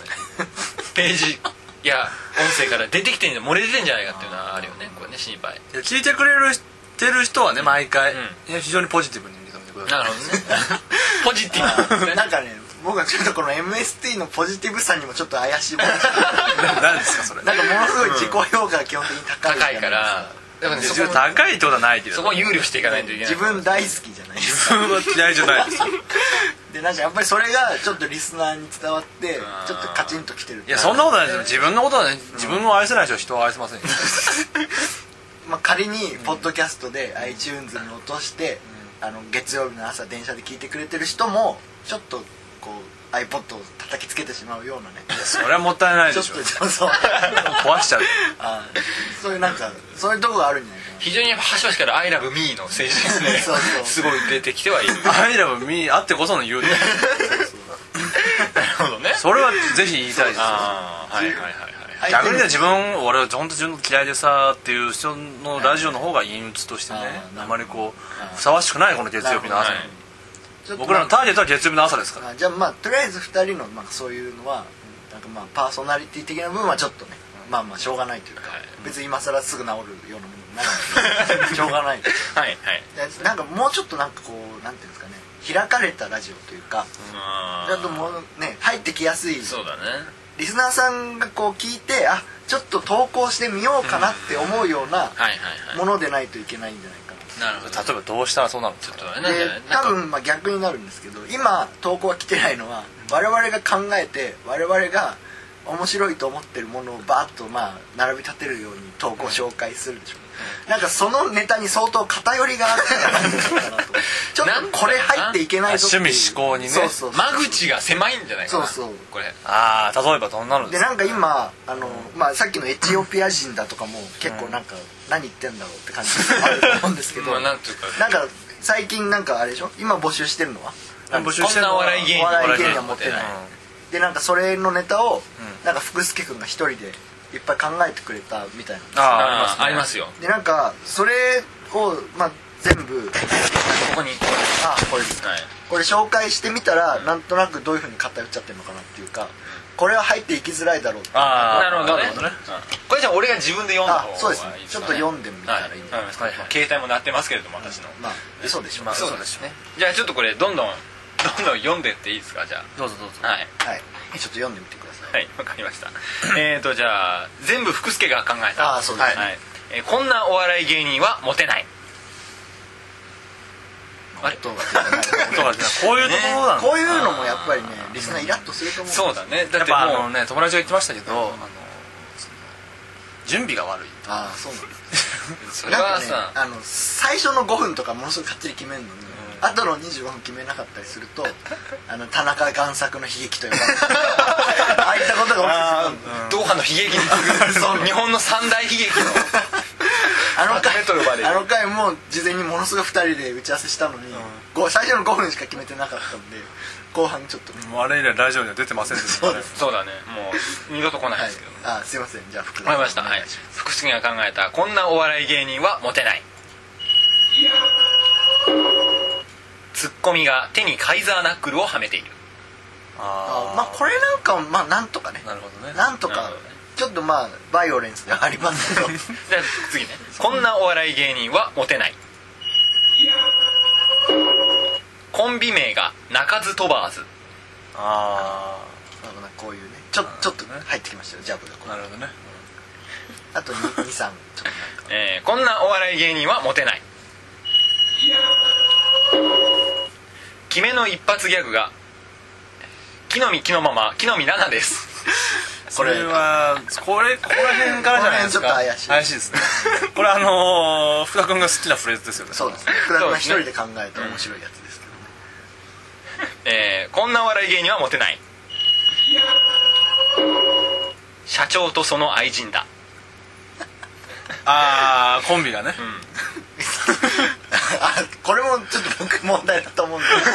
[SPEAKER 2] ページや音声から出てきてんじゃ漏れ出てんじゃないかっていうのはあるよねこれね心配
[SPEAKER 1] いや聞いてくれるてる人はね毎回、
[SPEAKER 2] うん
[SPEAKER 1] いや非常にポジティブに受け止めてください
[SPEAKER 2] なるほどねポジティブな,、
[SPEAKER 4] なんかね僕はちょっとこの MST のポジティブさにもちょっと怪しいものが
[SPEAKER 1] な何ですかそれ
[SPEAKER 4] なんかものすごい自己評価が基本的に高い
[SPEAKER 2] 高
[SPEAKER 4] じゃない
[SPEAKER 2] い
[SPEAKER 4] です
[SPEAKER 2] からだからねそ
[SPEAKER 1] 自分
[SPEAKER 2] こ
[SPEAKER 1] 高いってことはないけど
[SPEAKER 2] そこは憂慮していかないといけない
[SPEAKER 4] 自分大好きじゃないですか
[SPEAKER 1] 自分は嫌いじゃないですよ
[SPEAKER 4] でなんかやっぱりそれがちょっとリスナーに伝わって
[SPEAKER 2] あー
[SPEAKER 4] ちょっとカチンときて る
[SPEAKER 1] いやそんなことないですよ自分のことはね自分を愛せない人は人を愛せませんよ
[SPEAKER 4] まあ、仮にポッドキャストで iTunes に落として、あの月曜日の朝電車で聞いてくれてる人もちょっとこう iPod を叩きつけてしまうようなね
[SPEAKER 1] それはもったいない
[SPEAKER 4] ちょ
[SPEAKER 1] で
[SPEAKER 4] っ
[SPEAKER 1] しょ
[SPEAKER 4] とそ うそう
[SPEAKER 1] 壊し ちゃう
[SPEAKER 4] あーそういうなんかそういうとこがあるんじゃないか
[SPEAKER 2] 非常にやっぱ端々から「I love me」の精神ですね
[SPEAKER 4] そうそう
[SPEAKER 2] すごい出てきてはいる
[SPEAKER 1] アイラブミーあってこその言うね
[SPEAKER 2] なるほどね
[SPEAKER 1] それはぜひ言いたいですよ
[SPEAKER 2] ああはいはいはいはい
[SPEAKER 4] な
[SPEAKER 1] 逆にね自分俺は本当自分の嫌いでさっていう人のラジオの方が陰鬱としてね
[SPEAKER 4] あー
[SPEAKER 1] あまりこ
[SPEAKER 4] あー
[SPEAKER 1] うふさわしくないこの月曜日の朝に
[SPEAKER 2] はい
[SPEAKER 4] ちょっと
[SPEAKER 1] 僕らのターゲットは月曜日の朝ですから
[SPEAKER 4] まあじゃあまあとりあえず2人のまあそういうのはなんかまあパーソナリティ的な部分はちょっとねまあまあしょうがないというか、
[SPEAKER 2] はい
[SPEAKER 4] 別に今更すぐ治るようなものになるの でしょうがな
[SPEAKER 2] は
[SPEAKER 4] い
[SPEAKER 2] いはい
[SPEAKER 4] でなんかもうちょっとなんかこうなんていうんですかね開かれたラジオというか
[SPEAKER 2] あ
[SPEAKER 4] ちゃんともうね入ってきやすい
[SPEAKER 2] そうだね
[SPEAKER 4] リスナーさんがこう聞いてあちょっと投稿してみようかなって思うような
[SPEAKER 2] はいはいは
[SPEAKER 4] ものでないといけないんじゃないかな
[SPEAKER 2] いなるほど
[SPEAKER 1] 例えばどうしたらそうなるんです
[SPEAKER 2] ちょ
[SPEAKER 1] か
[SPEAKER 2] っとあれなんじゃな
[SPEAKER 4] で
[SPEAKER 2] いなん
[SPEAKER 4] 多
[SPEAKER 2] か
[SPEAKER 4] 分まあ逆になるんですけど今投稿が来てないのは我々が考えて我々が面白いと思ってるものをバーッとまあ並び立てるように投稿紹介するでしょなんかそのネタに相当偏りがあるからなんかなとちょっとこれ入っていけないぞっていう
[SPEAKER 1] なんか趣味嗜好にね
[SPEAKER 4] そうそうそう
[SPEAKER 2] 間口が狭いんじゃないかな
[SPEAKER 4] そうそう
[SPEAKER 2] これ
[SPEAKER 1] ああ例えばどんなので
[SPEAKER 4] です
[SPEAKER 1] か
[SPEAKER 4] なんか今あの、まあ、さっきのエチオピア人だとかも結構なんか、何言ってんだろうって感じがあると思うんですけど
[SPEAKER 2] まあ
[SPEAKER 4] な
[SPEAKER 2] なん
[SPEAKER 4] んか
[SPEAKER 2] というか
[SPEAKER 4] 最近なんかあれでしょ今募集してるのは
[SPEAKER 1] 募集してるのは
[SPEAKER 2] こんなお笑い芸人
[SPEAKER 4] お笑い芸人は持って
[SPEAKER 2] お
[SPEAKER 4] ない
[SPEAKER 2] 笑い、
[SPEAKER 4] でなんかそれのネタを、なんか福助君が一人でいっぱい考えてくれたみたいな
[SPEAKER 1] ああ
[SPEAKER 2] あーあ
[SPEAKER 1] あ
[SPEAKER 2] り
[SPEAKER 1] り
[SPEAKER 2] ま
[SPEAKER 1] ます
[SPEAKER 2] すよ
[SPEAKER 4] でなんかそれを、まあ、全部
[SPEAKER 2] ここにこ
[SPEAKER 4] あこれです
[SPEAKER 2] れ
[SPEAKER 4] か
[SPEAKER 2] はい
[SPEAKER 4] これ紹介してみたらなんとなくどういうふうに偏っちゃってるのかなっていうかこれは入っていきづらいだろうって
[SPEAKER 1] あー
[SPEAKER 2] なるほどね
[SPEAKER 1] なるほどね
[SPEAKER 2] うんこれじゃあ俺が自分で読んだ
[SPEAKER 4] あ
[SPEAKER 2] 方がいい
[SPEAKER 4] そうですね
[SPEAKER 2] か
[SPEAKER 4] ちょっと読んでみたらいいんじゃないですか、
[SPEAKER 2] はいはい携帯も鳴ってますけれども私の
[SPEAKER 4] まあ嘘でしょ、
[SPEAKER 1] まあ
[SPEAKER 2] そう
[SPEAKER 1] 嘘
[SPEAKER 2] で
[SPEAKER 1] ですしょ
[SPEAKER 2] ねじゃあちょっとこれどんどんどんどん読んでっていいですかじゃ
[SPEAKER 1] どうぞどうぞ
[SPEAKER 2] あはい
[SPEAKER 4] はいちょっと読んでみてください
[SPEAKER 2] はいわかりました えーとじゃあ全部福助が考えた
[SPEAKER 4] あーそうですね
[SPEAKER 2] はいえーこんなお笑い芸人はモテないあれ
[SPEAKER 4] 音が出てない
[SPEAKER 1] そ うだねこういうところなの
[SPEAKER 4] こういうのもやっぱりねリスナーイラッとすると思う
[SPEAKER 2] そうだねだ
[SPEAKER 1] やっ
[SPEAKER 2] っ
[SPEAKER 1] てぱ
[SPEAKER 2] も
[SPEAKER 1] あ
[SPEAKER 2] う
[SPEAKER 1] のね友達が言ってましたけどあのその準備が悪い
[SPEAKER 4] ああそうなんです
[SPEAKER 2] それ
[SPEAKER 4] な
[SPEAKER 2] は
[SPEAKER 4] んかね
[SPEAKER 2] さ
[SPEAKER 4] あの最初の5分とかものすごくかっちり決めるのに、後の25分決めなかったりするとあの田中贋作の悲 劇と呼ばれるああいったことが起きてしまう
[SPEAKER 2] ドーハの悲劇に 次ぐ日本の三大悲劇の
[SPEAKER 4] あの
[SPEAKER 2] まとめと呼ばれ
[SPEAKER 4] 回
[SPEAKER 2] る
[SPEAKER 4] あの回も事前にものすごい2人で打ち合わせしたのに、ご最初の5分しか決めてなかったんで後半ちょっとね
[SPEAKER 1] もうあれ以来ラジオには出てませんでしたね
[SPEAKER 2] そうだねもう二度と来ない
[SPEAKER 4] はい
[SPEAKER 2] ですけど、
[SPEAKER 4] あすいませんじゃあ福田
[SPEAKER 2] わか
[SPEAKER 4] さん
[SPEAKER 2] りました、
[SPEAKER 4] お
[SPEAKER 2] は
[SPEAKER 4] 願
[SPEAKER 2] い
[SPEAKER 4] いし、
[SPEAKER 2] 福重が考えたこんなお笑い芸人はモテないツッコミが手にカイザーナックルをはめている
[SPEAKER 4] ます
[SPEAKER 1] あ
[SPEAKER 4] あまあこれなんかまあなんとかね
[SPEAKER 1] れなるほどね
[SPEAKER 4] なんと
[SPEAKER 2] なる
[SPEAKER 4] か
[SPEAKER 2] ほどね
[SPEAKER 4] ちょっとまあバイオレンスがありますけど
[SPEAKER 2] じゃあ次ねこんなお笑い芸人はモテないコンビ名が鳴かず飛ばず
[SPEAKER 1] あ
[SPEAKER 4] あのこういうねちょちょっと入ってきましたよジャブがこ
[SPEAKER 1] あな
[SPEAKER 4] う
[SPEAKER 1] るほどね
[SPEAKER 4] あと23ちょっとなんか
[SPEAKER 2] えーこんなお笑い芸人はモテない決めの一発ギャグが木の実木のまま木の実奈々です
[SPEAKER 1] これはこれここら辺からじゃないですか
[SPEAKER 4] この辺ちょっと怪しい
[SPEAKER 1] 怪しいですね これあのー、福田君が好きなフレーズですよね
[SPEAKER 4] そうですね福田君が一人で考えた面白いやつですけどね
[SPEAKER 2] えーこんなお笑い芸人はモテない社長とその愛人だ
[SPEAKER 1] ああコンビがね、
[SPEAKER 4] あこれもちょっと僕問題だと思うんだけど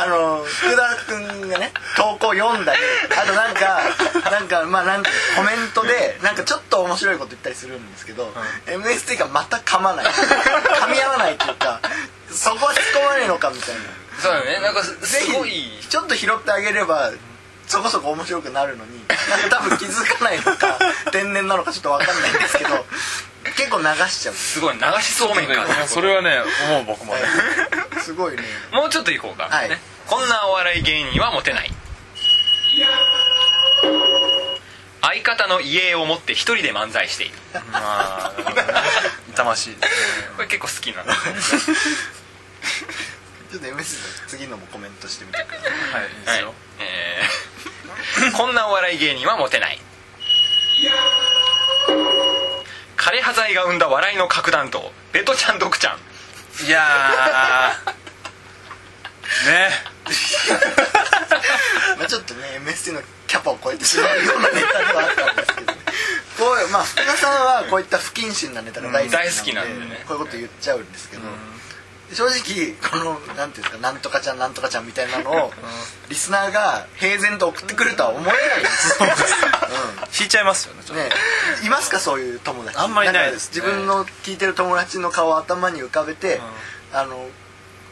[SPEAKER 4] あの福田君がね投稿読んだりあとなんかなんかまあなんかコメントでなんかちょっと面白いこと言ったりするんですけど、MST がまた噛まない噛み合わないっていうかそこは突っ込まねえのかみたいな
[SPEAKER 2] そうだねなんかす
[SPEAKER 4] ちょっと拾ってあげればそこそこ面白くなるのになんか多分気づかないのか天然なのかちょっと分かんないんですけど結構流しちゃう
[SPEAKER 2] すごい流しそうめんか
[SPEAKER 1] それはね思う僕もね
[SPEAKER 4] すごいね
[SPEAKER 2] もうちょっといこうか、
[SPEAKER 4] はい
[SPEAKER 2] ねこんなお笑い芸人はモテない相方の遺影を持って一人で漫才している
[SPEAKER 1] まあなるほどね痛ましいですね
[SPEAKER 2] これ結構好きなんだね
[SPEAKER 4] ちょっと MS の次のもコメントしてみてください
[SPEAKER 1] はいいいですよ、
[SPEAKER 2] えーこんなお笑い芸人はモテない枯葉剤が生んだ笑いの核弾頭ベトちゃんドクちゃん
[SPEAKER 1] いやーね
[SPEAKER 4] まあちょっとね MST のキャパを超えてしまうようなネタではあったんですけどねこういうまあ福田さんはこういった不謹慎なネタが大好きなんで,、
[SPEAKER 2] うん大好きなんでね
[SPEAKER 4] こういうこと言っちゃうんですけど、正直このなんていうんですかなんとかちゃんなんとかちゃんみたいなのをリスナーが平然と送ってくるとは思えないですよ、
[SPEAKER 1] 引いちゃいますよねち
[SPEAKER 4] う
[SPEAKER 1] ょ
[SPEAKER 4] ん
[SPEAKER 1] っと
[SPEAKER 4] ねいますかそういう友達
[SPEAKER 1] あんまいないですね
[SPEAKER 4] んか自分の聞いてる友達の顔を頭に浮かべて、あの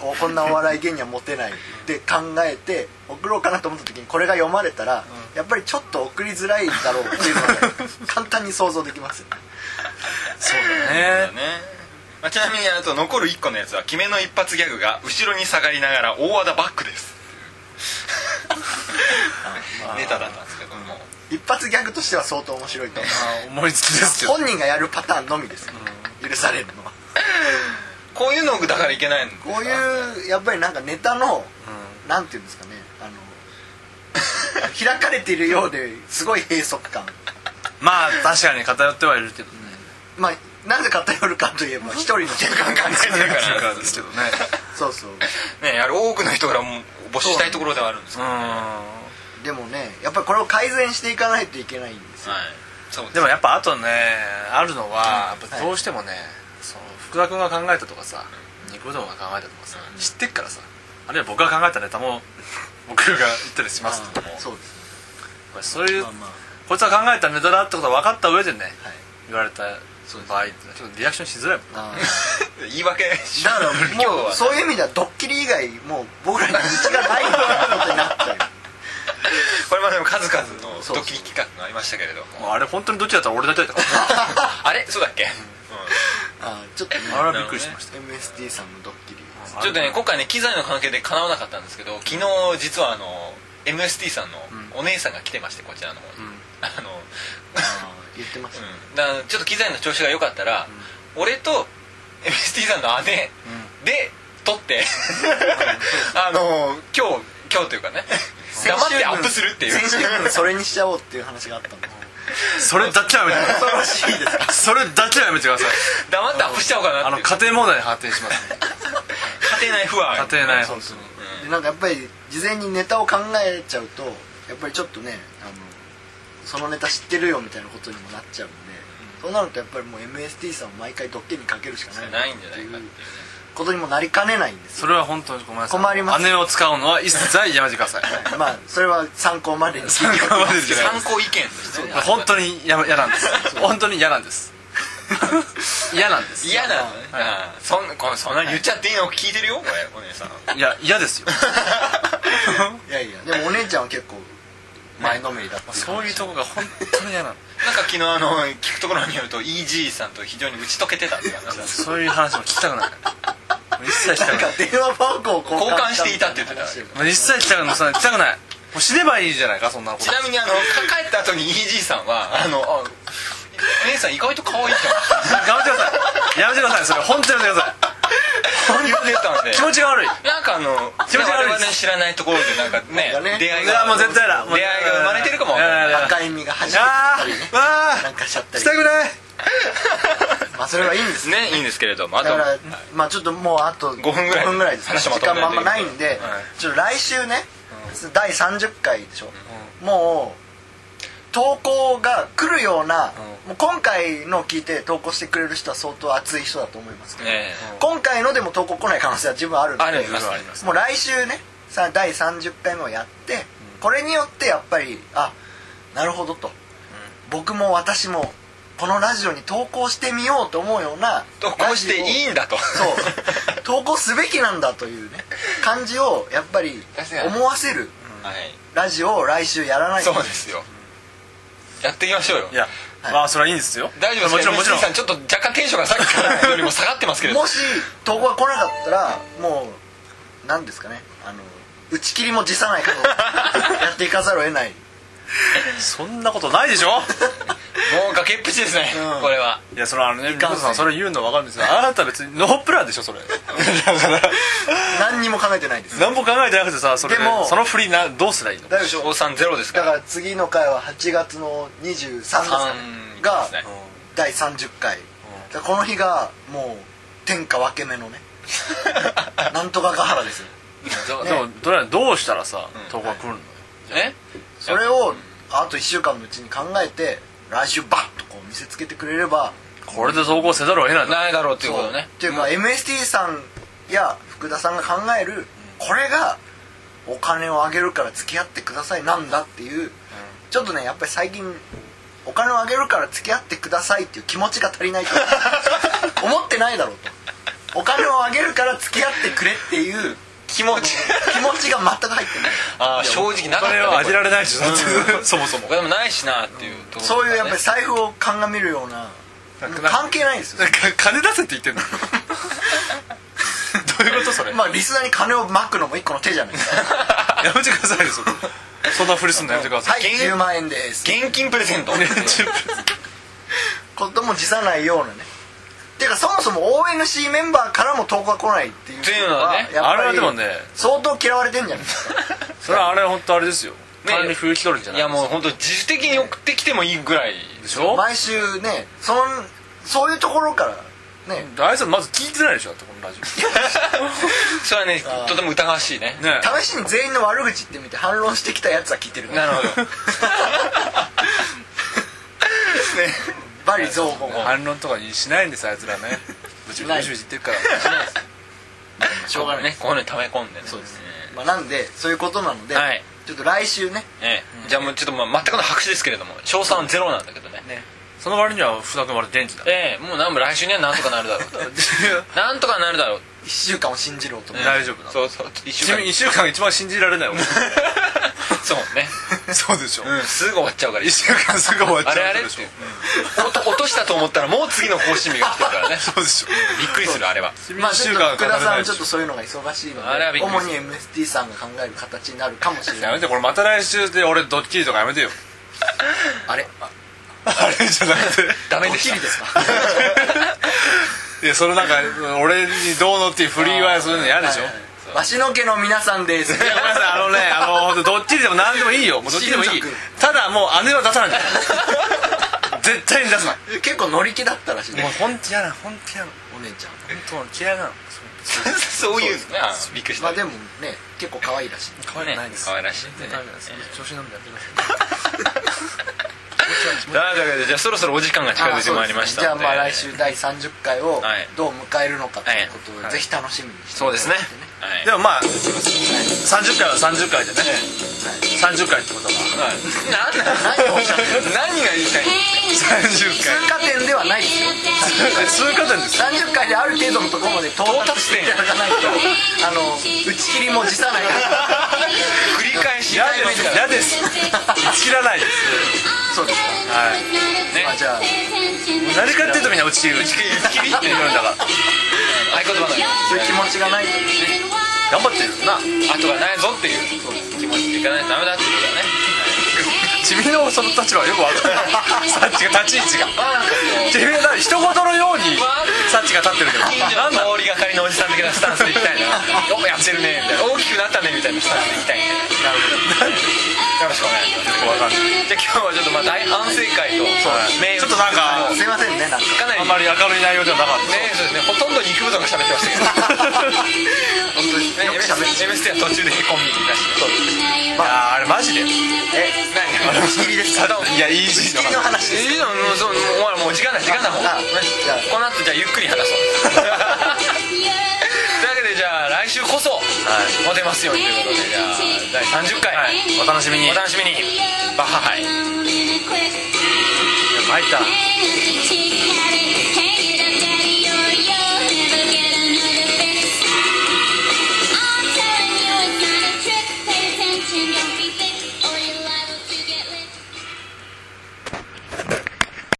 [SPEAKER 4] おこんなお笑い芸人はモテないで考えて送ろうかなと思った時にこれが読まれたら、やっぱりちょっと送りづらいだろうっていうのが、 簡単に想像できますよね
[SPEAKER 1] そう
[SPEAKER 2] だ
[SPEAKER 1] だ
[SPEAKER 2] ね、まあ、ちなみにあと残る1個のやつは決めの一発ギャグが後ろに下がりながら大和田バックですネタだったんですけども、
[SPEAKER 4] 一発ギャグとしては相当面白いと思う
[SPEAKER 1] あー思いつきですけど
[SPEAKER 4] 本人がやるパターンのみですよ、許されるのは
[SPEAKER 2] こういうのだからいけないの
[SPEAKER 4] こういうやっぱりなんかネタの、なんていうんですかねあの 開かれているようですごい閉塞感
[SPEAKER 1] まあ確かに偏ってはいるけどね
[SPEAKER 4] まあなぜ偏るかとい えば一人の手間が
[SPEAKER 2] 考えてるから
[SPEAKER 1] からですけどね
[SPEAKER 4] そうそう
[SPEAKER 2] ねやる多くの人からも募集したいところではあるんですけ
[SPEAKER 1] う
[SPEAKER 2] どね
[SPEAKER 4] でもねやっぱりこれを改善していかないといけないんですよ、
[SPEAKER 2] はいそうで
[SPEAKER 1] ん
[SPEAKER 2] す
[SPEAKER 1] でもやっぱあとねあるのはやっぱ
[SPEAKER 4] はい
[SPEAKER 1] どうしてもね、その福田君が考えたとかさニコ動が考えたとかさ知ってっからさあるいは僕が考えたネタも 僕が言ったりしますけども
[SPEAKER 4] そうですね
[SPEAKER 1] まあそういう
[SPEAKER 4] まあまあ
[SPEAKER 1] こいつが考えたネタだってことは分かった上でね
[SPEAKER 4] はい
[SPEAKER 1] 言われた場合ってちょっとリアクションしづらいもん
[SPEAKER 4] あ
[SPEAKER 2] 言い訳
[SPEAKER 4] ー
[SPEAKER 2] し
[SPEAKER 4] だ から
[SPEAKER 2] 今日は
[SPEAKER 4] もうそういう意味ではドッキリ以外もう僕らに道がないみたいなことになっちゃう
[SPEAKER 2] これまでも数々の
[SPEAKER 4] そうそう
[SPEAKER 2] ドッキリ企画がありましたけれども
[SPEAKER 1] もうあれ本当にどっちだったら俺だけだったから
[SPEAKER 2] あれそうだっけ、
[SPEAKER 4] あーちょっとね
[SPEAKER 1] あれはびっくりしました
[SPEAKER 4] MST さんのドッキリです
[SPEAKER 2] ちょっとね今回ね機材の関係でかなわなかったんですけど昨日実はあの MST さんのお姉さんが来てましてこちらの方に、あの
[SPEAKER 4] あー言ってましたね
[SPEAKER 2] うんだからちょっと機材の調子が良かったら、俺と MST さんの姉で撮ってあの今日今日というかね黙ってアップするっていう
[SPEAKER 4] 先週分それにしちゃおうっていう話があったんで
[SPEAKER 1] それだけはやめてくだ
[SPEAKER 4] 恐ろしいです
[SPEAKER 1] さいそれだけはやめてください
[SPEAKER 2] 黙ってアップしちゃおうかな
[SPEAKER 1] あ
[SPEAKER 2] っ
[SPEAKER 1] の
[SPEAKER 2] ていう
[SPEAKER 1] 家庭問題に発展しますね
[SPEAKER 2] 家庭内不安
[SPEAKER 1] 家庭内
[SPEAKER 4] そう
[SPEAKER 1] 本
[SPEAKER 4] そう
[SPEAKER 1] 当
[SPEAKER 2] うん
[SPEAKER 4] でなんかやっぱり事前にネタを考えちゃうとやっぱりちょっとねあのそのネタ知ってるよみたいなことにもなっちゃうんで、そうなるとやっぱりもう MST さんを毎回ドッキリにかけるしかない
[SPEAKER 2] ないんじゃないかっていうね
[SPEAKER 4] ことにもなりかねないんです
[SPEAKER 1] そ
[SPEAKER 4] よ
[SPEAKER 1] れは本当にごめんなさい
[SPEAKER 4] 困ります
[SPEAKER 1] 姉を使うのは一切やめてください
[SPEAKER 4] まあそれは参考までに
[SPEAKER 1] 参考までじゃないで
[SPEAKER 2] 参考意見として
[SPEAKER 1] す
[SPEAKER 2] ね
[SPEAKER 1] 本当にや嫌なんです本当に嫌なんです嫌なんです
[SPEAKER 2] 嫌なのねああそんこそんなに言っちゃっていいの聞いてるよこれお姉さ ん
[SPEAKER 1] いや嫌ですよ
[SPEAKER 4] いやいやでもお姉ちゃんは結構前のめりだった
[SPEAKER 1] そういうとこが本当に嫌なの
[SPEAKER 2] なんか昨日あの聞くところによると EG さんと非常に打ち解けてたっていう話だ
[SPEAKER 1] そういう話も聞きたくないもう一切聞き
[SPEAKER 4] な
[SPEAKER 1] た
[SPEAKER 4] ん
[SPEAKER 1] くな
[SPEAKER 4] か
[SPEAKER 1] い
[SPEAKER 4] 電話番号を交
[SPEAKER 2] 交換
[SPEAKER 4] 換
[SPEAKER 2] していたって言ってた
[SPEAKER 4] 話を
[SPEAKER 1] もう一切聞きたくない聞きたくないもう死ねばいいじゃないかそんなこと
[SPEAKER 2] ちなみにあのか帰った後に EG さんはあのあ姉さん意外と可愛いじゃ
[SPEAKER 1] やめてくださいやめてくださいそれ本当にやめてくださ
[SPEAKER 2] ん言ってたんで
[SPEAKER 1] い気持ちが悪い
[SPEAKER 2] なんかあの
[SPEAKER 1] 気持ち悪いです
[SPEAKER 2] 我々の知らないところでなんかね
[SPEAKER 4] なんかね
[SPEAKER 2] 出会い
[SPEAKER 1] いや
[SPEAKER 2] が
[SPEAKER 1] もう絶対だもう
[SPEAKER 2] 出会いが生まれてるかも
[SPEAKER 1] いやいやいや
[SPEAKER 4] 赤い実が弾
[SPEAKER 1] あ
[SPEAKER 4] けてき
[SPEAKER 1] ー
[SPEAKER 4] たりね
[SPEAKER 1] あー
[SPEAKER 4] なんかしちゃった
[SPEAKER 1] し
[SPEAKER 4] り
[SPEAKER 1] たくない
[SPEAKER 4] まあそれはいいんですね
[SPEAKER 2] ねいいんですけれどもあ
[SPEAKER 4] だ
[SPEAKER 2] と
[SPEAKER 4] から、
[SPEAKER 2] はい
[SPEAKER 4] まあちょっともうあと
[SPEAKER 2] 5分ぐらい
[SPEAKER 4] 5分ぐらいですね
[SPEAKER 2] 話
[SPEAKER 4] 時
[SPEAKER 2] まと
[SPEAKER 4] 間
[SPEAKER 2] め
[SPEAKER 4] も
[SPEAKER 2] な
[SPEAKER 4] あ
[SPEAKER 2] い
[SPEAKER 4] ん
[SPEAKER 2] と
[SPEAKER 4] まないんで、ちょっと来週ね、第30回でしょ、もう投稿が来るような、もう今回の聞いて投稿してくれる人は相当熱い人だと思いますけど、
[SPEAKER 2] え
[SPEAKER 4] 今回のでも投稿来ない可能性は十分あるんで
[SPEAKER 2] ありますあります
[SPEAKER 4] もう来週ねさあ第30回目をやって、これによってやっぱりあなるほどと、僕も私もこのラジオに投稿してみようと思うような
[SPEAKER 2] とこうしていいんだと
[SPEAKER 4] そう投稿すべきなんだというね感じをやっぱり
[SPEAKER 2] 確かに
[SPEAKER 4] 思わせる
[SPEAKER 2] はい
[SPEAKER 4] ラジオを来週やらないと
[SPEAKER 2] そうですよやっていきましょうよ
[SPEAKER 1] いや
[SPEAKER 4] はい
[SPEAKER 1] まあそれはいいんですよ
[SPEAKER 2] 大丈夫です
[SPEAKER 1] もちろんもちろん
[SPEAKER 2] MC さんちょっと若干テンションがさっきからよりも下がってますけれど
[SPEAKER 4] もし投稿が来なかったらもう何ですかねあの打ち切りも辞さないことをやっていかざるを得ない
[SPEAKER 1] そんなことないでしょ
[SPEAKER 2] もう崖っぷちですね、
[SPEAKER 4] うん
[SPEAKER 2] これはい
[SPEAKER 1] やそのあのねリ
[SPEAKER 4] かんせん
[SPEAKER 1] コさんそれ言うの分かるん ですけどあなた別にノープランでしょそれだから
[SPEAKER 4] 何にも考えてないです
[SPEAKER 1] 何も考えてなくてさそれ
[SPEAKER 4] でも
[SPEAKER 1] その振りなどうすりゃいいの
[SPEAKER 4] 大丈夫
[SPEAKER 2] 賞賛ゼロですか
[SPEAKER 4] だ
[SPEAKER 2] ら
[SPEAKER 4] から次の回は8月の23ですかね
[SPEAKER 2] 三
[SPEAKER 4] が
[SPEAKER 2] ですね
[SPEAKER 4] 第30回だからこの日がもう天下分け 目のねなんとかヶ原ですよ
[SPEAKER 2] ど
[SPEAKER 1] でもどれどうしたらさ投稿が来るの
[SPEAKER 2] え
[SPEAKER 4] それをあと1週間のうちに考えて来週バッとこう見せつけてくれれば
[SPEAKER 1] これで投稿せざるを得ないんだ
[SPEAKER 2] ないだろうっていうことね
[SPEAKER 4] っていうか MST さんや福田さんが考えるこれがお金をあげるから付き合ってくださいなんだっていうちょっとねやっぱり最近お金をあげるから付き合ってくださいっていう気持ちが足りないと 思ってないだろうとお金をあげるから付き合ってくれっていう
[SPEAKER 2] 気持ち
[SPEAKER 4] 気持ちが全く入ってない
[SPEAKER 2] あー正直な
[SPEAKER 1] そ
[SPEAKER 2] か
[SPEAKER 1] れは
[SPEAKER 2] った
[SPEAKER 1] あげられないでしょだってそもそも
[SPEAKER 2] お金もないしなっていうところがね
[SPEAKER 4] そういうやっぱり財布を鑑みるような関係ないですよ
[SPEAKER 1] か金出せって言 ってんのどういうことそれ、
[SPEAKER 4] まあリスナーに金をまくのも一個の 手じゃないですか
[SPEAKER 1] やめてくださいよそれそんなふりすんのやめてくださ
[SPEAKER 4] はい
[SPEAKER 1] い、
[SPEAKER 2] 現
[SPEAKER 4] 10万円です
[SPEAKER 2] 現金プレゼント
[SPEAKER 4] ことも辞さないようなねていうかそもそも ONC メンバーからも投稿が来ないっていう
[SPEAKER 2] っていうのはね
[SPEAKER 4] やっぱり
[SPEAKER 1] あれはでもね
[SPEAKER 4] 相当嫌われてんじゃないですか
[SPEAKER 1] それはあれ本当あれですよ単に風気取るんじゃ
[SPEAKER 2] い
[SPEAKER 1] ない
[SPEAKER 2] やもう本当自主的に送ってきてもいいぐらい
[SPEAKER 1] でしょ
[SPEAKER 4] 毎週ねそんそういうところからね
[SPEAKER 1] あいつまず聞いてないでしょだってこのラジオ
[SPEAKER 2] それはね
[SPEAKER 4] あー
[SPEAKER 2] とても疑わしいね
[SPEAKER 1] ね
[SPEAKER 4] 試しに全員の悪口言ってみて反論してきたやつは聞いてる
[SPEAKER 2] なるほ ど
[SPEAKER 4] バリ造語も
[SPEAKER 1] 反論とかにしないんですあいつらねブチブチブチブチ言ってるから
[SPEAKER 4] しょうがない
[SPEAKER 2] ねこういうの溜め込んでね
[SPEAKER 4] そうですね、まあ、なんでそういうことなので、
[SPEAKER 2] はい
[SPEAKER 4] ちょっと来週ね
[SPEAKER 2] ええじゃあもうちょっとまあ全くの白紙ですけれども賞賛ゼロなんだけどね
[SPEAKER 1] その割には福田君割と元気だ
[SPEAKER 2] ええもうなんも来週にはなんとかなるだろうと なんとかなるだろう
[SPEAKER 4] 1週間を信じろと思う、
[SPEAKER 1] 大丈夫なの
[SPEAKER 2] そうそう一週間
[SPEAKER 1] 1週間が一番信じられないもん
[SPEAKER 2] そうね
[SPEAKER 1] そうでしょ
[SPEAKER 2] うんすぐ終わっちゃうから
[SPEAKER 1] 1週間すぐ終わっちゃ
[SPEAKER 2] あ
[SPEAKER 1] う
[SPEAKER 2] れあれ
[SPEAKER 1] で
[SPEAKER 2] っ
[SPEAKER 1] してょ
[SPEAKER 2] いう落と落としたと思ったらもう次の更新日が来てるから ね
[SPEAKER 1] そうでしょ
[SPEAKER 2] びっくりするあれは
[SPEAKER 4] まあちょっと福田さんちょっと
[SPEAKER 1] と
[SPEAKER 4] そういうのが忙しいので
[SPEAKER 2] あれはびっくり
[SPEAKER 4] 主に MST さんが考える形になるかもしれな
[SPEAKER 1] や
[SPEAKER 4] い
[SPEAKER 1] めてこれまた来週で俺ドッキリとかやめてよ
[SPEAKER 4] あれ
[SPEAKER 1] あれじゃなく て
[SPEAKER 2] ダメでした
[SPEAKER 4] ですか
[SPEAKER 1] いやそれなんか俺にどうのっていう振りはそういうの嫌でしょ
[SPEAKER 4] わしの家の皆さんです
[SPEAKER 1] いやごめんなさいあのねあの本当どっちでも何でもいいよもうどっちでもいい
[SPEAKER 4] 新宿
[SPEAKER 1] ただもう姉は出さないんだよ絶対に出すなも
[SPEAKER 4] 結構乗り気だったらしいね
[SPEAKER 1] う本当嫌なの本当嫌なの
[SPEAKER 4] お姉ちゃん
[SPEAKER 1] 本当嫌いなの
[SPEAKER 2] そういうのねあーびっくりした
[SPEAKER 4] まあでもね結構可愛いらしい
[SPEAKER 1] 可愛くないです
[SPEAKER 2] 可愛らしいね
[SPEAKER 1] 全然可愛くないです調子なんでやってください
[SPEAKER 2] というわけでじゃあそろそろお時間が近づいてまいりました
[SPEAKER 4] あー
[SPEAKER 2] の
[SPEAKER 4] そう
[SPEAKER 2] で
[SPEAKER 4] ですねじゃあまあ来週第30回を
[SPEAKER 2] はい
[SPEAKER 4] どう迎えるのかということを、
[SPEAKER 1] はい
[SPEAKER 4] ぜひ楽しみにして
[SPEAKER 2] そうですねはい
[SPEAKER 1] でもまあ30回は30回でね30回って ことは
[SPEAKER 2] 何な
[SPEAKER 4] 何をおっしゃってる
[SPEAKER 2] 何が言いたい
[SPEAKER 1] 30回
[SPEAKER 4] 通過点ではないですよ
[SPEAKER 1] 通過点です
[SPEAKER 4] 30回である程度のところまで到達していただか ないとあの打ち切りも辞さない
[SPEAKER 2] 繰り返し
[SPEAKER 1] 嫌です嫌です 打ち切らないです
[SPEAKER 4] そうですか、
[SPEAKER 1] はい
[SPEAKER 4] まあ、じゃあ
[SPEAKER 1] 何かっていうとみんな打ち切り打ち切り打ち切りって言うんだから
[SPEAKER 2] 合言葉のよ
[SPEAKER 4] そういう気持ちがないと
[SPEAKER 1] 頑張ってるな
[SPEAKER 2] うに後がないぞっていう気持ちでいかないとダメだっていうことだね
[SPEAKER 1] 君のその立場はよくわかるさっちが立ち位置が
[SPEAKER 2] ああ
[SPEAKER 1] 君のな一言のようにさっちが立ってるけど
[SPEAKER 2] 近所
[SPEAKER 1] なんだ
[SPEAKER 2] の通りがかりのおじさん的なスタンスでいきたいなよくやってるねみたいな大きくなったねみたいなスタンスでいきたいんでよろしくお願いします
[SPEAKER 1] わかんない
[SPEAKER 2] じゃあ今日はちょっとまあ大反省会と名
[SPEAKER 1] ちょっとなんか
[SPEAKER 4] すいませんねなん
[SPEAKER 2] か
[SPEAKER 4] か
[SPEAKER 2] なり
[SPEAKER 1] あんまり明るい内容ではなかった
[SPEAKER 2] ねそうですねほとんど肉ぶどんが喋ってましたけど
[SPEAKER 4] 本当によく喋って
[SPEAKER 2] m s t は途中でへこみ出し
[SPEAKER 1] い
[SPEAKER 2] て
[SPEAKER 1] やーあれマジで
[SPEAKER 4] え
[SPEAKER 2] 何
[SPEAKER 4] 打ち切りですか打
[SPEAKER 1] いやいい時期
[SPEAKER 4] ち切りの話です
[SPEAKER 2] いいのもうそうもうもう時間ない時間ないもう
[SPEAKER 4] あじゃあ
[SPEAKER 2] この後じゃあゆっくり話そうというわけでじゃあ来週こそ、モテますようにということでじゃあ第30回、
[SPEAKER 1] はいお楽しみに
[SPEAKER 2] お楽しみにバッハハイ
[SPEAKER 1] 参った
[SPEAKER 3] She had it.